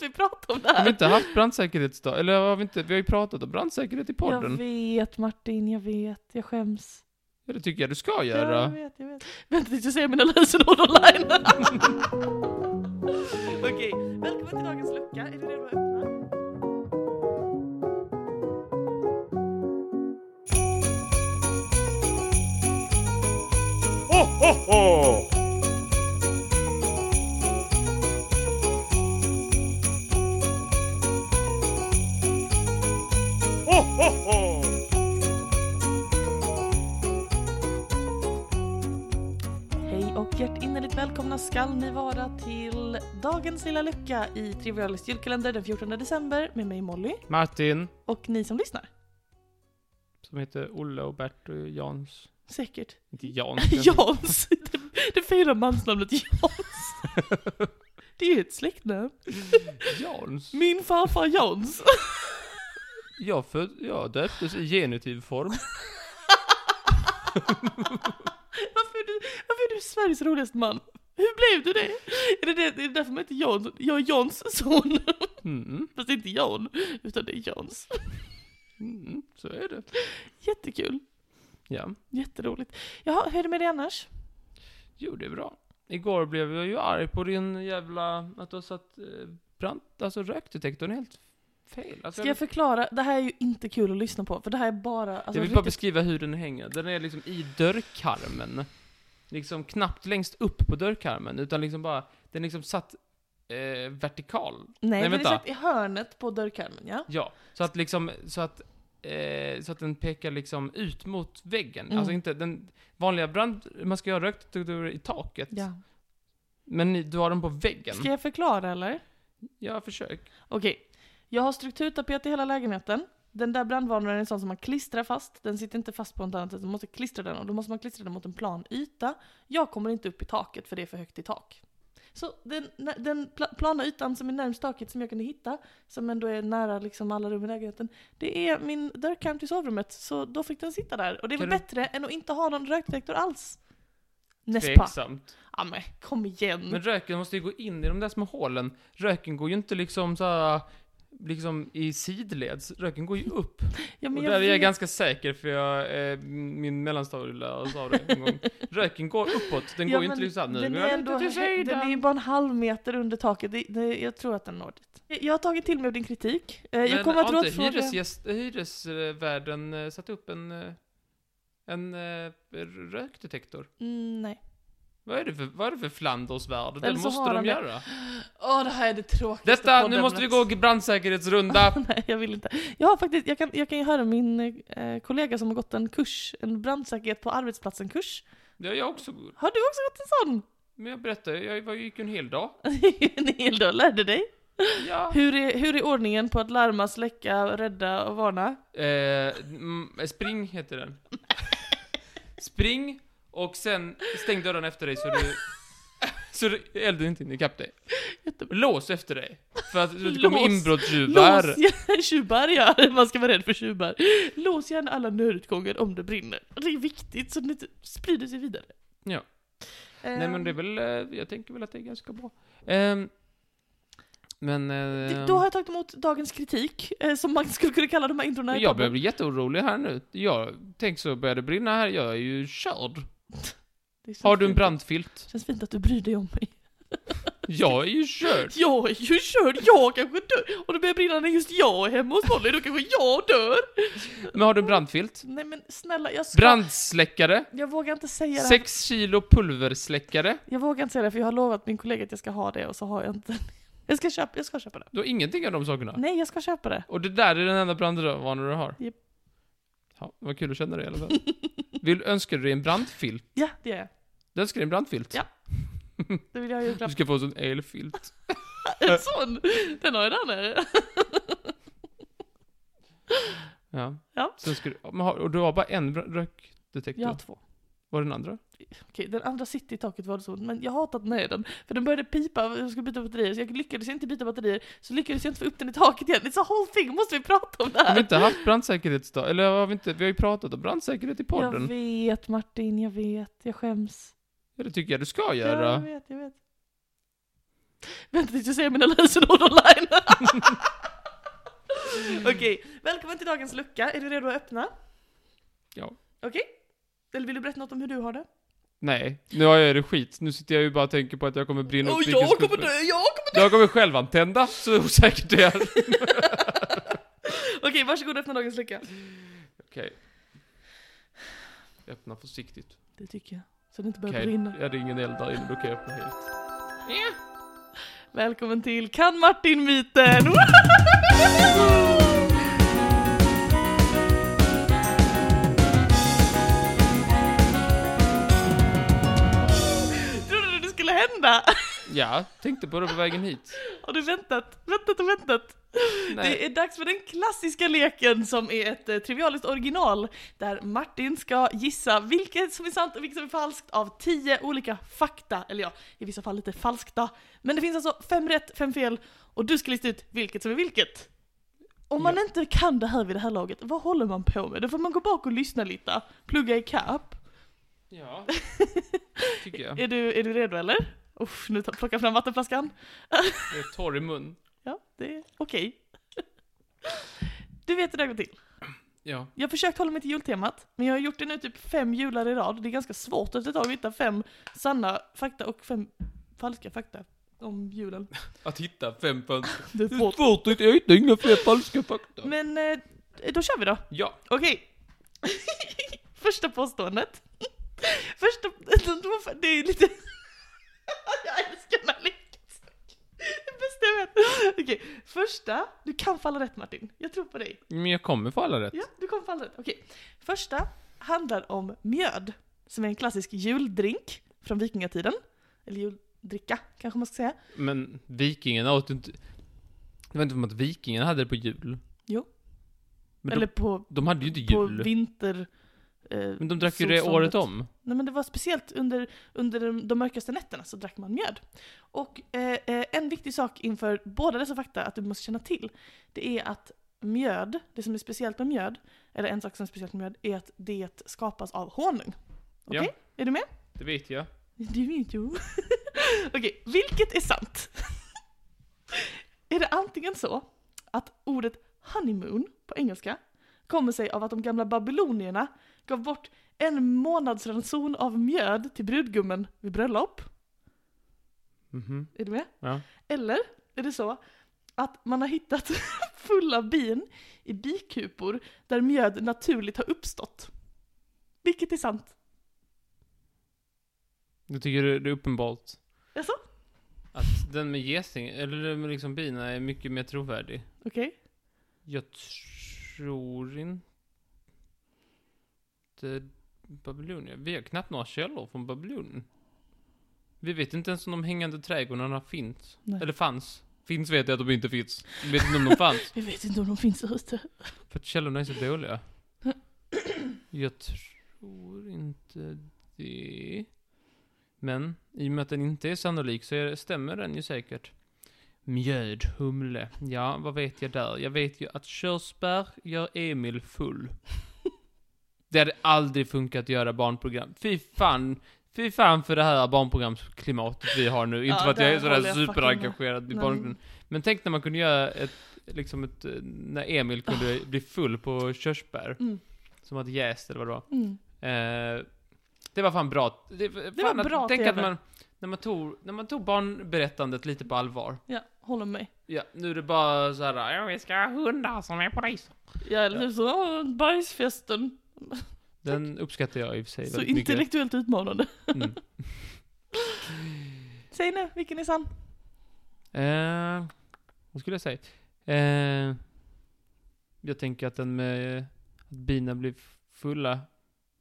vi prata om det Har här? vi inte haft brandsäkerhetsdag? Eller har vi inte? Vi har ju pratat om brandsäkerhet i jag podden. vet Martin, jag vet. Jag skäms. Ja, det tycker jag du ska Ja, jag göra. vet, jag vet. Vänta tills jag ser mina lösenord online. Okej, välkommen till dagens lucka. Är du redo att öppna? Hej och hjärtinnerligt välkomna skall ni vara till dagens lilla lucka i Trivialis julkalender den 14 december med mig Molly Martin, och ni som lyssnar. som heter Olle och Bert och Jans. Säkert. Inte Jans. men- Jans. Det, det fina mansnamnet Jans. Det är ju ett släktnamn. Jans. Min farfar Jans. Jag, föd, jag döptes i genitiv form. Varför är, du, varför är du Sveriges roligaste man? Hur blev du det? Är det, det, är det därför man heter Jan? Jag är Jans son. Mm, Fast inte Jan, utan det är Jans. mm, så är det. Jättekul. Ja. Jätteroligt. Jaha, hur är det med dig annars? Jo, det är bra. Igår blev jag ju arg på din jävla... Att du har satt eh, brand... Alltså rökdetektorn helt fel. Alltså, Ska jag förklara? Det här är ju inte kul att lyssna på, för det här är bara... Alltså, jag vill bara riktigt- beskriva hur den hänger. Den är liksom i dörrkarmen. Liksom knappt längst upp på dörrkarmen, utan liksom bara... Den är liksom satt eh, vertikal. Nej, Nej, den är vänta. satt i hörnet på dörrkarmen, ja. Ja, så att liksom... Så att, eh, så att den pekar liksom ut mot väggen. Mm. Alltså inte den vanliga brand... Man ska ju ha rökdetektorer i taket. ja. Men ni- du har den på väggen. Ska jag förklara, eller? Ja, försök. Okej. Jag har strukturtapet i hela lägenheten. Den där brandvarnaren är en sån som man klistrar fast. Den sitter inte fast på något annat sätt. Man måste klistra den och då måste man klistra den mot en plan yta. Jag kommer inte upp i taket för det är för högt i tak. Så den, den pla- plana ytan som är närmst taket som jag kunde hitta, som ändå är nära liksom alla rum i lägenheten, det är min dörrkarm till sovrummet. Så då fick den sitta där. Och det är väl Kan du- bättre än att inte ha någon rökdetektor alls. Näspa. Tveksamt. Ja men kom igen. Men röken måste ju gå in i de där små hålen. Röken går ju inte liksom så här, liksom i sidleds. Röken går ju upp. ja, men och där är jag vet. ganska säker för jag, eh, min mellanstadielärare sa det en gång. Röken går uppåt, den Ja, går ju men inte liksom såhär, nu Den går är, jag ändå, lite till hö- den är ju sidan. bara en halv meter under taket. Det, det, jag tror att den når dit. Jag har tagit till mig av din kritik. Eh, Men Jag kommer att har inte rådfråga... hyresgäst, hyresvärden eh, satt upp en, eh, en eh, rökdetektor? Mm, nej. Vad är det för, vad är det för Flandersvärld? Det Eller så har måste de han det. göra. Åh, det här är det tråkigaste Detta, nu poddämnet. måste vi gå brandsäkerhetsrunda. nej, jag vill inte. Jag har faktiskt... Jag kan, jag kan ju höra min eh, kollega som har gått en kurs, en brandsäkerhet på arbetsplatsen-kurs. Det har jag också gjort. Har du också gått en sån? Men jag berättade, jag var- gick ju en hel dag. en hel dag lärde dig. Ja. Hur är, hur är ordningen på att larma, släcka, rädda och varna? Eh, mm, spring heter den. Spring och sen stäng dörren efter dig så du... Så du- elden inte hinner ikapp dig. Jättebra. Lås efter dig. För att det kommer Lås. inbrottstjuvar. Lås gärna tjuvar ja, man ska vara rädd för tjuvar. Lås gärna alla nödutgångar om det brinner. Det är viktigt så det inte sprider sig vidare. Ja. Ehm, Nej men det är väl, eh, jag tänker väl att det är ganska bra. Ehm, men... d- Eh, Då har jag tagit emot dagens kritik, eh, som man skulle kunna kalla de här introna i jag podden. börjar bli jätteorolig här nu. Jag tänk så börjar det brinna här, jag är ju körd. Det är så Har du en fint. brandfilt? Känns fint att du bryr dig om mig. Jag är ju körd. Jag är ju körd, jag kanske dör. Och det börjar brinna när just jag är hemma hos Molly, då kanske jag dör. Men har du en brandfilt? Nej men snälla, jag ska... Brandsläckare? Jag vågar inte säga det här. Sex kilo pulversläckare. Jag vågar inte säga det för jag har lovat min kollega att jag ska ha det och så har jag inte. Jag ska köpa, jag ska köpa det. Du har ingenting av de sakerna. Nej, jag ska köpa det. Och det där är den enda brandvarnare du har. Japp. Ja, vad kul att känna dig i alla fall. Vill, önskar du dig en brandfilt? Ja, det gör jag. Du önskar dig en brandfilt? Ja. Det vill jag ha i Du julklapp. ska få en sån elfilt. En sån! Den har jag där nere. Ja. Ja. Sen ska du, men har, och du har bara en bra- rökdetektor? Jag har två. Var den andra? Okej, den andra sitter i taket var det så, men jag hatat ner den. För den började pipa, jag skulle byta batterier, så jag lyckades inte byta batterier, så lyckades jag inte få upp den i taket igen. It's a whole thing, måste vi prata om det Har vi här? inte haft brandsäkerhetsdag? Eller har vi inte? Vi har ju pratat om brandsäkerhet i Jag podden. vet Martin, jag vet, jag skäms. Ja, det tycker jag du ska Ja, jag göra. vet, jag vet. Vänta tills jag säger mina lösenord online. Okej, välkommen till dagens lucka. Är du redo att öppna? Ja. Okej? Eller vill du berätta något om hur du har det? Nej, nu har jag det skit. Nu sitter jag ju bara och tänker på att jag kommer brinna upp Och jag vilken kommer skuld- dö, jag kommer... Jag kommer självantända, så osäkert det är. Okej. Okej, varsågod öppna dagens lucka. Öppna försiktigt. Det tycker jag. Så det inte börjar Okej, brinna. ja, det är ingen eld där inne, då kan jag öppna helt. Välkommen till Kan Martin-myten! Woho! Trodde du det skulle hända? Ja, tänkte på det på vägen hit. Har du väntat, väntat och väntat? Nej. Det är dags för den klassiska leken som är ett eh, trivialiskt original där Martin ska gissa vilket som är sant och vilket som är falskt av tio olika fakta, eller ja, i vissa fall lite falskta. Men det finns alltså fem rätt, fem fel och du ska lista ut vilket som är vilket. Om man Ja. inte kan det här vid det här laget, vad håller man på med? Då får man gå bak och lyssna lite, plugga i kapp. Ja, tycker jag. Är, du, är du redo eller? Usch, nu tar- plockar jag fram vattenflaskan. Jag är torr i mun. Ja, det är okej. Du vet hur det här går till. Ja. Jag har försökt hålla mig till jultemat, men jag har gjort det nu typ fem jular i rad. Det är ganska svårt efter ett tag att hitta fem sanna fakta och fem falska fakta om julen. Att hitta fem fönster. Det är Det är svårt. svårt att jag hittar inga fler falska fakta. Men eh, då kör vi då. Ja. Okej. Första påståendet. Första... Det är lite... Jag älskar den här leken. så mycket. Det bästa jag vet. Okej, första. Du kan falla rätt Martin. Jag tror på dig. Men jag kommer få alla rätt. Ja, du kom på all rätt. Okej. Första handlar om mjöd, som är en klassisk juldrink från vikingatiden. Eller juldricka, kanske man ska säga. Men vikingarna åt inte... Det var inte som att vikingarna hade det på jul. Jo. Men Eller på, de, de hade ju inte på jul. vinter... Eh, Men de drack ju det solståndet. året om. nej men det var speciellt under, under de- de mörkaste nätterna så drack man mjöd. Och eh, eh, en viktig sak inför båda dessa fakta att du måste känna till, det är att mjöd, det som är speciellt med mjöd, eller en sak som är speciellt med mjöd, är att det skapas av honung. Okej? Ja. Är du med? Det vet jag. Du vet ju. Okej, vilket är sant? är det antingen så att ordet honeymoon på engelska kommer sig av att de gamla babylonierna gav bort en månads ranson av mjöd till brudgummen vid bröllop? Mhm. Är du med? Ja. Eller är det så att man har hittat fulla bin i bikupor där mjöd naturligt har uppstått? Vilket är sant? Jag tycker det det är uppenbart Jaså? att den med geting, eller den med liksom bina, är mycket mer trovärdig. Okej? Jag tror inte... Babylonien. Vi har knappt några källor från Babylonien. Vi vet inte ens om de hängande trädgårdarna finns. Nej. Eller fanns. Finns vet jag att de inte finns. Vi vet inte om de fanns. Vi vet inte om de finns där ute. För att källorna är så dåliga. Jag tror inte det. Men i och med att den inte är sannolik så är, stämmer den ju säkert. Mjöd, humle. Ja, vad vet jag där? Jag vet ju att körsbär gör Emil full. Det hade aldrig funkat att göra barnprogram. Fy fan. Fy fan för det här barnprogramsklimatet vi har nu. Inte Ja, för att jag där är sådär håller jag fucking med. superengagerad i Nej. barnprogram. Men tänk när man kunde göra ett, liksom ett, eh, när Emil kunde Ah. bli full på körsbär. Mm. Som att jäst eller vad det var. Mm. Eh, det var fan bra. Det, fan var bra att, tänk TV. att man, när man, tog, när man tog barnberättandet lite på allvar. Ja, håller med. Ja, nu är det bara så här. Ja, vi ska ha hundar som är poliser. Ja, eller typ så, "Åh, bajsfesten. Den uppskattar jag i och för sig Så väldigt mycket. intellektuellt utmanande. Mm. Säg nu, vilken är sann? Eh, vad skulle jag säga? Eh, jag tänker att den med att bina blir fulla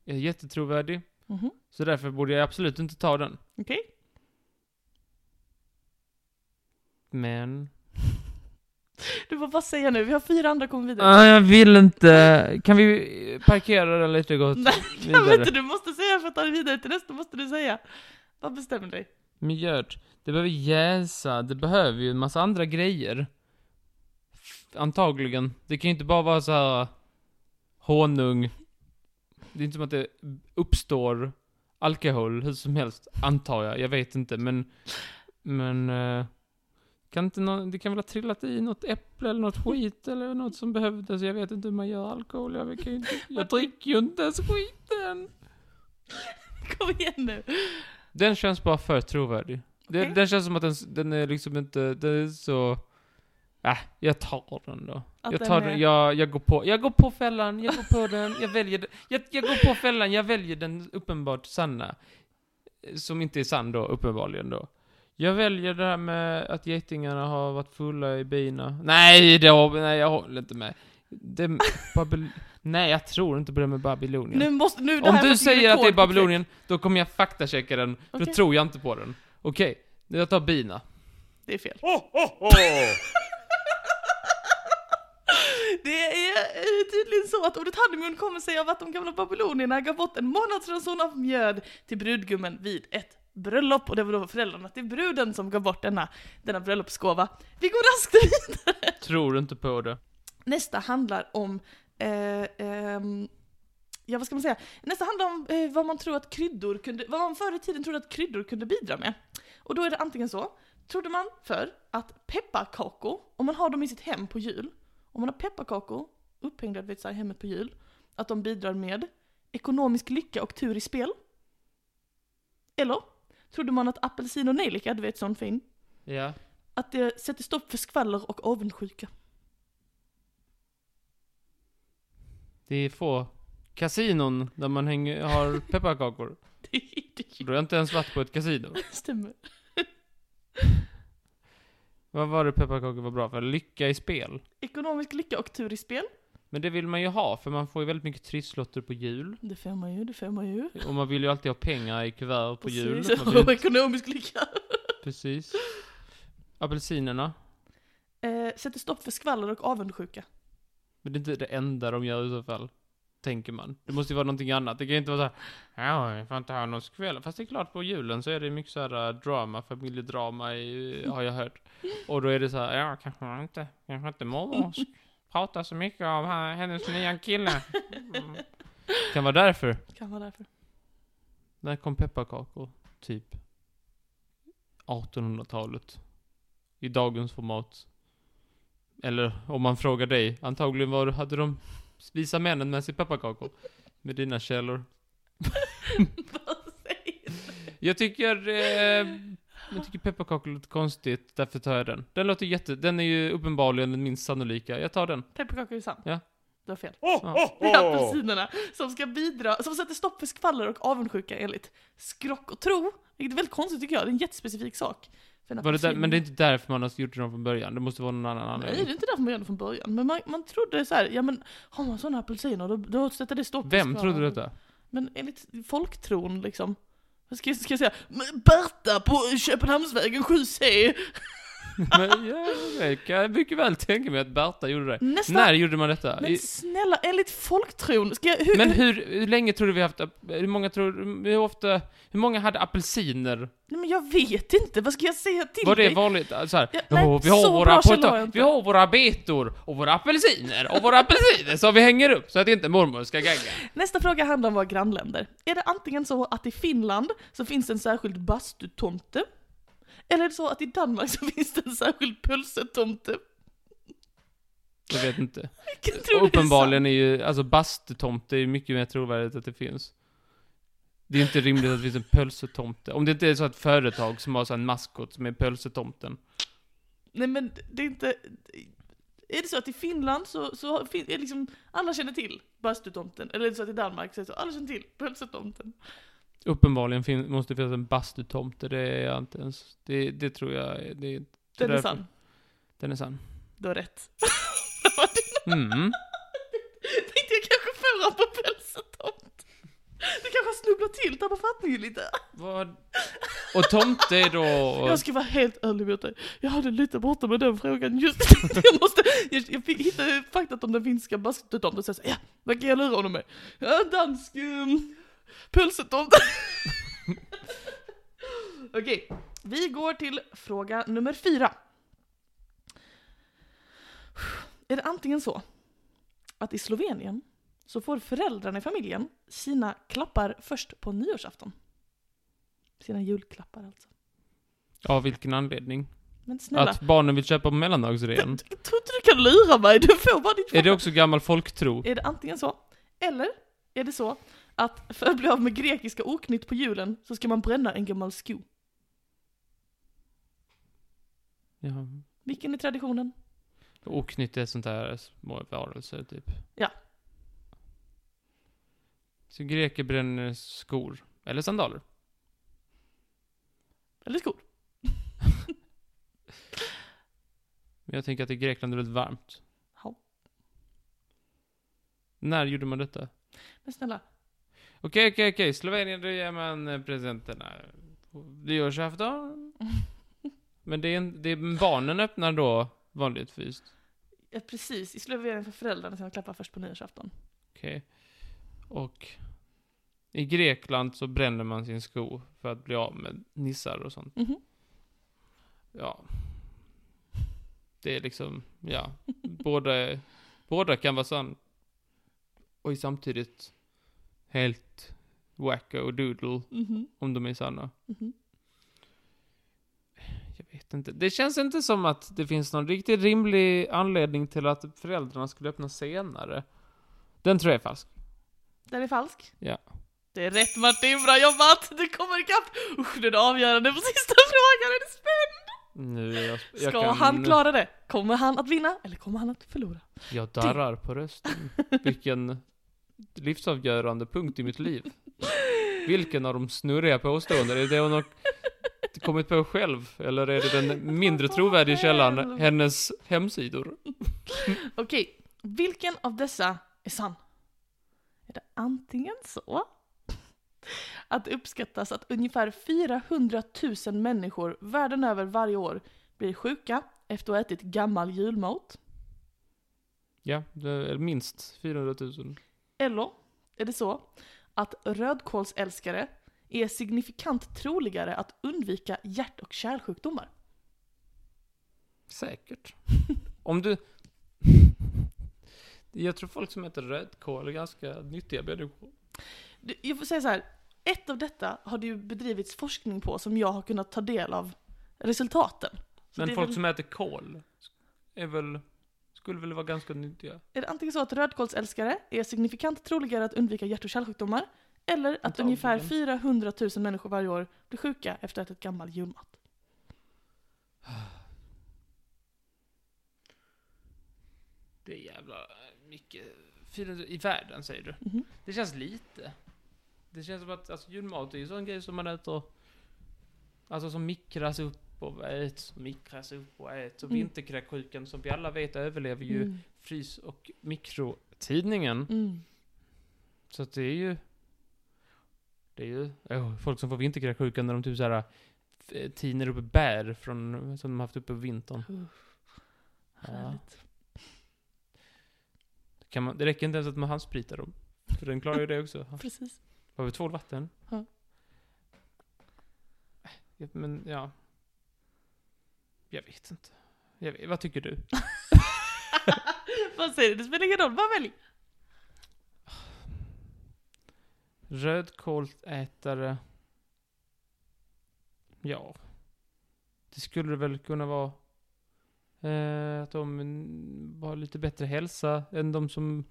är jättetrovärdig. Mhm. Så därför borde jag absolut inte ta den. Okej. Men... Du får bara säga nu, vi har fyra andra kommer vidare. Ah, jag vill inte. Kan vi parkera den lite gott? Nej, kan vi vidare. inte, du måste säga för att ta dig vidare till nästa måste du säga. Vad bestämmer dig? Mjöd. Det behöver jäsa. Det behöver ju en massa andra grejer. F- Antagligen. Det kan ju inte bara vara så här äh, honung. Det är inte som att det uppstår alkohol hur som helst, antar jag. Jag vet inte, men... Men... eh, Kan inte någon, det kan väl ha trillat i något äpple eller något skit eller något som behövdes. Jag vet inte hur man gör alkohol. Jag, kan ju inte, jag dricker ju inte ens skiten. Kom igen nu. Den känns bara för trovärdig. Den, Okej. den känns som att den, s- den är liksom inte, den är så... Äh, jag tar den då. Att jag den tar är- den, jag, jag går på, jag går på fällan, jag går på den, jag väljer den. Jag, jag går på fällan, jag väljer den uppenbart sanna. Eh, Som inte är sann då, uppenbarligen då. Jag väljer det här med att getingarna har varit fulla i bina. Nej, det har, nej jag håller inte med. Det, Babyl- nej, jag tror inte på det med Babylonien. Nu måste, nu, det Om här du måste bli säger att det är rekordkonflikt. Babylonien, då kommer jag faktachecka den. Då Okej. tror jag inte på den. Okej, jag tar bina. Det är fel. Ho, ho, ho! Det är eh, tydligen så att ordet honeymoon kommer sig av att de gamla babylonierna gav bort en månadsranson av mjöd till brudgummen vid ett bröllop. Och det var då föräldrarna till bruden som gav bort denna, denna bröllopsgåva. Vi går raskt vidare. Tror inte på det. Nästa handlar om, eh, ehm, ja vad ska man säga, nästa handlar om eh, vad man tror att kryddor kunde, vad man förr i tiden trodde att kryddor kunde bidra med. Och då är det antingen så, trodde man förr att pepparkakor, om man har dem i sitt hem på jul, om man har pepparkakor upphängda du vet, så här, i hemmet på jul, att de bidrar med ekonomisk lycka och tur i spel. Eller, trodde man att apelsin och nejlika, du vet sån fin, Ja. att det sätter stopp för skvaller och avundsjuka. Det är få kasinon där man hänger, har pepparkakor. Det är det Då ju. har jag inte ens varit på ett kasino. Stämmer. Vad var det pepparkakor var bra för? Lycka i spel. Ekonomisk lycka och tur i spel. Men det vill man ju ha, för man får ju väldigt mycket trisslotter på jul. Det får man ju, det får man ju. Och man vill ju alltid ha pengar i kuvert på jul. Precis, Man vill- Och ekonomisk lycka. Precis. Apelsinerna. Eh, sätter stopp för skvaller och avundsjuka. Men det är inte det enda de gör i så fall. Tänker man. Det måste ju vara någonting annat. Det kan ju inte vara såhär, ja, jag får inte ha någon skväll. Fast det är klart, på julen så är det mycket såhär eh, drama, familjedrama, i, har jag hört. Och då är det såhär, ja, kanske man inte, kanske inte mormor s- pratar så mycket om här- hennes nya kille. Mm. Kan vara därför. Kan vara därför. När kom pepparkakor? Typ 1800-talet. I dagens format. Eller om man frågar dig, antagligen var, hade de visa männen med sig pepparkakor. Med dina källor. Vad säger du? Jag tycker, eh, jag tycker pepparkakor låter konstigt, därför tar jag den. Den låter jätte, den är ju uppenbarligen den minst sannolika. Jag tar den. Pepparkakor är sant. Ja. Oh, Du har fel. Ho, ho, Det är ho! apelsinerna som ska bidra, som sätter stopp för skvaller och avundsjuka enligt skrock och tro. Vilket är väldigt konstigt tycker jag, det är en jättespecifik sak. För en Var det där, apelsin- men det är inte därför man har gjort den från början. Det måste vara någon Nej, annan det är anledning. inte därför man gör det från början. Men man, man trodde så här, ja men har man sådana apelsiner då, då sätter det stopp för Vem skvaller. trodde detta? Men enligt folktron liksom. Vad ska, jag- ska jag säga? "Men Berta på Köpenhamnsvägen 7C! Men ja, jag kan mycket väl tänka mig att Berta gjorde det. Nästa! När gjorde man detta? Men I- snälla, enligt folktron, ska jag... Hur, Men hur, hur, hur länge tror du vi haft, ap- hur många tror, hur ofta, hur många hade apelsiner? nej, men jag vet inte, vad ska jag säga till Var det dig? vanligt? Så här, Ja, nej, "Åh, vi, har så våra bra källor har potat- jag inte." vi har våra betor och våra apelsiner och våra apelsiner som vi hänger upp så att inte mormor ska gagga. Nästa fråga handlar om våra grannländer. Är det antingen så att i Finland så finns det en särskild bastutomte? Eller är det så att i Danmark så finns det en särskild pölsetomte? Jag vet inte. Vilken tror du är Uppenbarligen är ju, alltså bastutomte är ju mycket mer trovärdigt att det finns. Det är inte rimligt att det finns en pölsetomte. Om det inte är så att företag som har så här en maskot som är pölsetomten. Nej men det är inte... Är det så att i Finland så, så fin, är liksom, alla känner till bastutomten? Eller är det så att i Danmark så är det så, alla känner till pölsetomten? Uppenbarligen fin- måste det finnas en bastutomte, det är jag inte ens. Det, det tror jag, är- det, det Den är därför- sann. Den är sann. Du har rätt. Mm. Tänkte jag kanske förra på pölsetomten. Du kanske snubblar till, tappar fattningen lite. Vad? Och tomte är då... Jag ska vara helt ärlig mot dig. Jag hade lite borta med den frågan just jag måste, jag, jag fick hitta faktat om den finska bastutomten och säga så, ja, vad kan jag lura honom med? Ja, dansk um, pölsetomte. Okej, vi går till fråga nummer fyra. Är det antingen så att i Slovenien så får föräldrarna i familjen sina klappar först på nyårsafton? Sina julklappar alltså. Av vilken anledning? Men snälla, Att barnen vill köpa mellandagsrean. jag tror inte du kan lura mig, du får bara ditt Är det också gammal folktro? Är det antingen så, eller är det så att för att bli av med grekiska oknytt på julen så ska man bränna en gammal sko. Ja. Vilken är traditionen? Oknytt är sånt här små varelser, typ. Ja. Så greker bränner skor. Eller sandaler. Eller skor? Men jag tänker att i Grekland är det väldigt varmt. Ja. När gjorde man detta? Men snälla, Okej, okej, okej. Slovenien, då ger man eh, presenterna. Det görs i afton. Men det är, en, det är barnen öppnar då vanligtvis. ja, precis, i Slovenien för föräldrarna som klappar först på nyårsafton. Okej. Och i Grekland så bränner man sin sko för att bli av med nissar och sånt. Mhm. Ja. Det är liksom, ja. Båda, båda kan vara sann. Och är samtidigt helt wacko doodle Mhm. om de är sanna. Mhm. Jag vet inte. Det känns inte som att det finns någon riktigt rimlig anledning till att föräldrarna skulle öppna senare. Den tror jag är falsk. Den är falsk. Ja. Det är rätt Martin, bra jobbat! Du kommer ikapp! Usch, den är avgörande på sista frågan, är du spänd? Nu är jag, jag Ska kan, han klara det? Kommer han att vinna eller kommer han att förlora? Jag darrar på rösten. Vilken livsavgörande punkt i mitt liv. Vilken av de snurriga påståenden? Är det hon har kommit på själv? Eller är det den mindre trovärdiga källan, hennes hemsidor? Okej, vilken av dessa är sann? Är det antingen så att det uppskattas att ungefär 400 000 människor världen över varje år blir sjuka efter att ha ätit gammal julmat? Ja, det är minst 400 000. Eller är det så att rödkålsälskare är signifikant troligare att undvika hjärt och kärlsjukdomar? Säkert. Om du... Jag tror folk som äter rödkål är ganska nyttiga människor. Du, Jag får säga så här. Ett av detta har det ju bedrivits forskning på som jag har kunnat ta del av resultaten. Så det Men är folk väl- som äter kål är väl... Skulle väl vara ganska nyttiga? Är det antingen så att rödkålsälskare är signifikant troligare att undvika hjärt och kärlsjukdomar eller att Antagligen. ungefär 400 000 människor varje år blir sjuka efter att ha ätit gammal julmat? Det är jävla mycket. 400 I världen säger du? Mhm. Det känns lite. Det känns som att alltså, julmat är ju en sån grej som man äter. Alltså som mikras upp och äts, mikras upp och äts. Och Mm. vinterkräksjukan som vi alla vet överlever ju frys och mikrotidningen. Mm. Så att det är ju... Det är ju åh, folk som får vinterkräksjukan när de typ såhär f- tiner upp bär från, som de haft uppe på vintern. Mm. Ja. Härligt. Det Kan man, det räcker inte ens att man handspritar dem. För den klarar ju det också. Precis. Har vi tvål vatten? Eh, Ja. Ja, Men ja. Jag vet inte. Jag vet, vad tycker du? Vad säger du? Det spelar ingen roll, bara välj. Rödkålsätare. Ja. Det skulle väl kunna vara eh, att de mm, har lite bättre hälsa än de som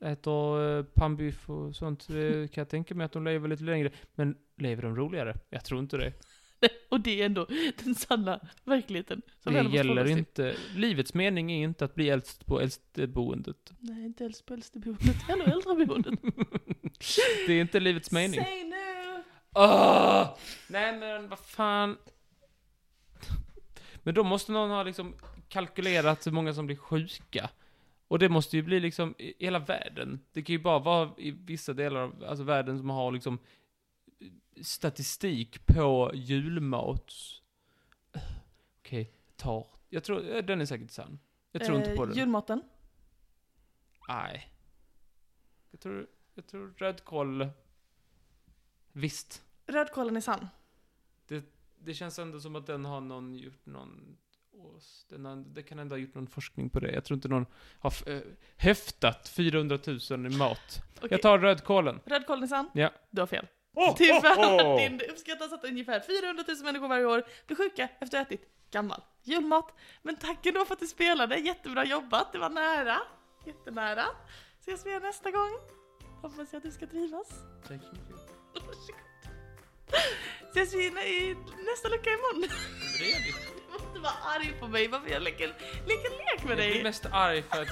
äter eh, pannbiff och sånt. Det kan jag tänka mig att de lever lite längre. Men lever de roligare? Jag tror inte det. Och det är ändå den sanna verkligheten. som vi det ändå måste gäller förhålla oss till. inte. Livets mening är inte att bli äldst på äldstboendet. Nej, inte helst på äldsteboendet eller äldreboendet. Det är inte livets mening. Säg nu! Åh! Nej men vad fan. Men då måste någon ha liksom kalkylerat hur många som blir sjuka. Och det måste ju bli liksom i hela världen. Det kan ju bara vara i vissa delar av alltså världen som har liksom eh, statistik på julmat. Okej, tar. Jag tror, eh, den är säkert sann. Jag tror Eh, inte på den. Julmaten. Nej. Jag tror, jag tror rödkål... Visst. Rödkålen är sann. Det känns ändå som att den har någon gjort någon... ås- Den har, det kan ändå ha gjort någon forskning på det. Jag tror inte någon har f- eh, höftat 400 000 i mat. Okej. Jag tar rödkålen. Rödkålen är sann. Ja. Du har fel. Oh, Tyvärr, det uppskattas att ungefär 400 000 människor varje år blir sjuka efter att ha ätit gammal. Julmat. Men tack ändå för att du spelade, jättebra jobbat, det var nära. Jättenära. Ses vi igen nästa gång. Hoppas jag att du ska trivas. Tack så mycket. Varsågod. Ses vi nä- i nästa lucka imorgon. Bredvid. Du måste vara arg på mig varför jag leker, leker lek med Jag blir dig. mest arg för att...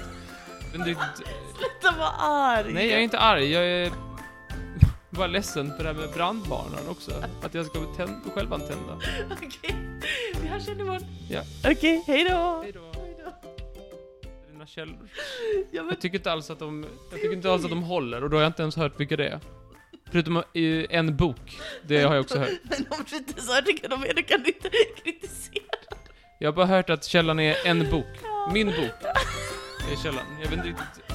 Men du... Sluta vara arg. Nej, jag är inte arg. Jag är bara ledsen för det här med brandvarnaren också. Att jag ska tänd- självantända. Okej, vi hörs igen imorgon. Ja. Okej, hej då. Hej då. Hej då. Dina källor. Ja, men Jag tycker inte alls att de... Jag tycker inte alls att de håller och då har jag inte ens hört vilka det är. Förutom i en bok. Det har jag också hört. Men om du inte sa det kan de är, då kan du inte kritisera. Jag har bara hört att källan är en bok. Min bok. Det är källan. Jag vet inte riktigt...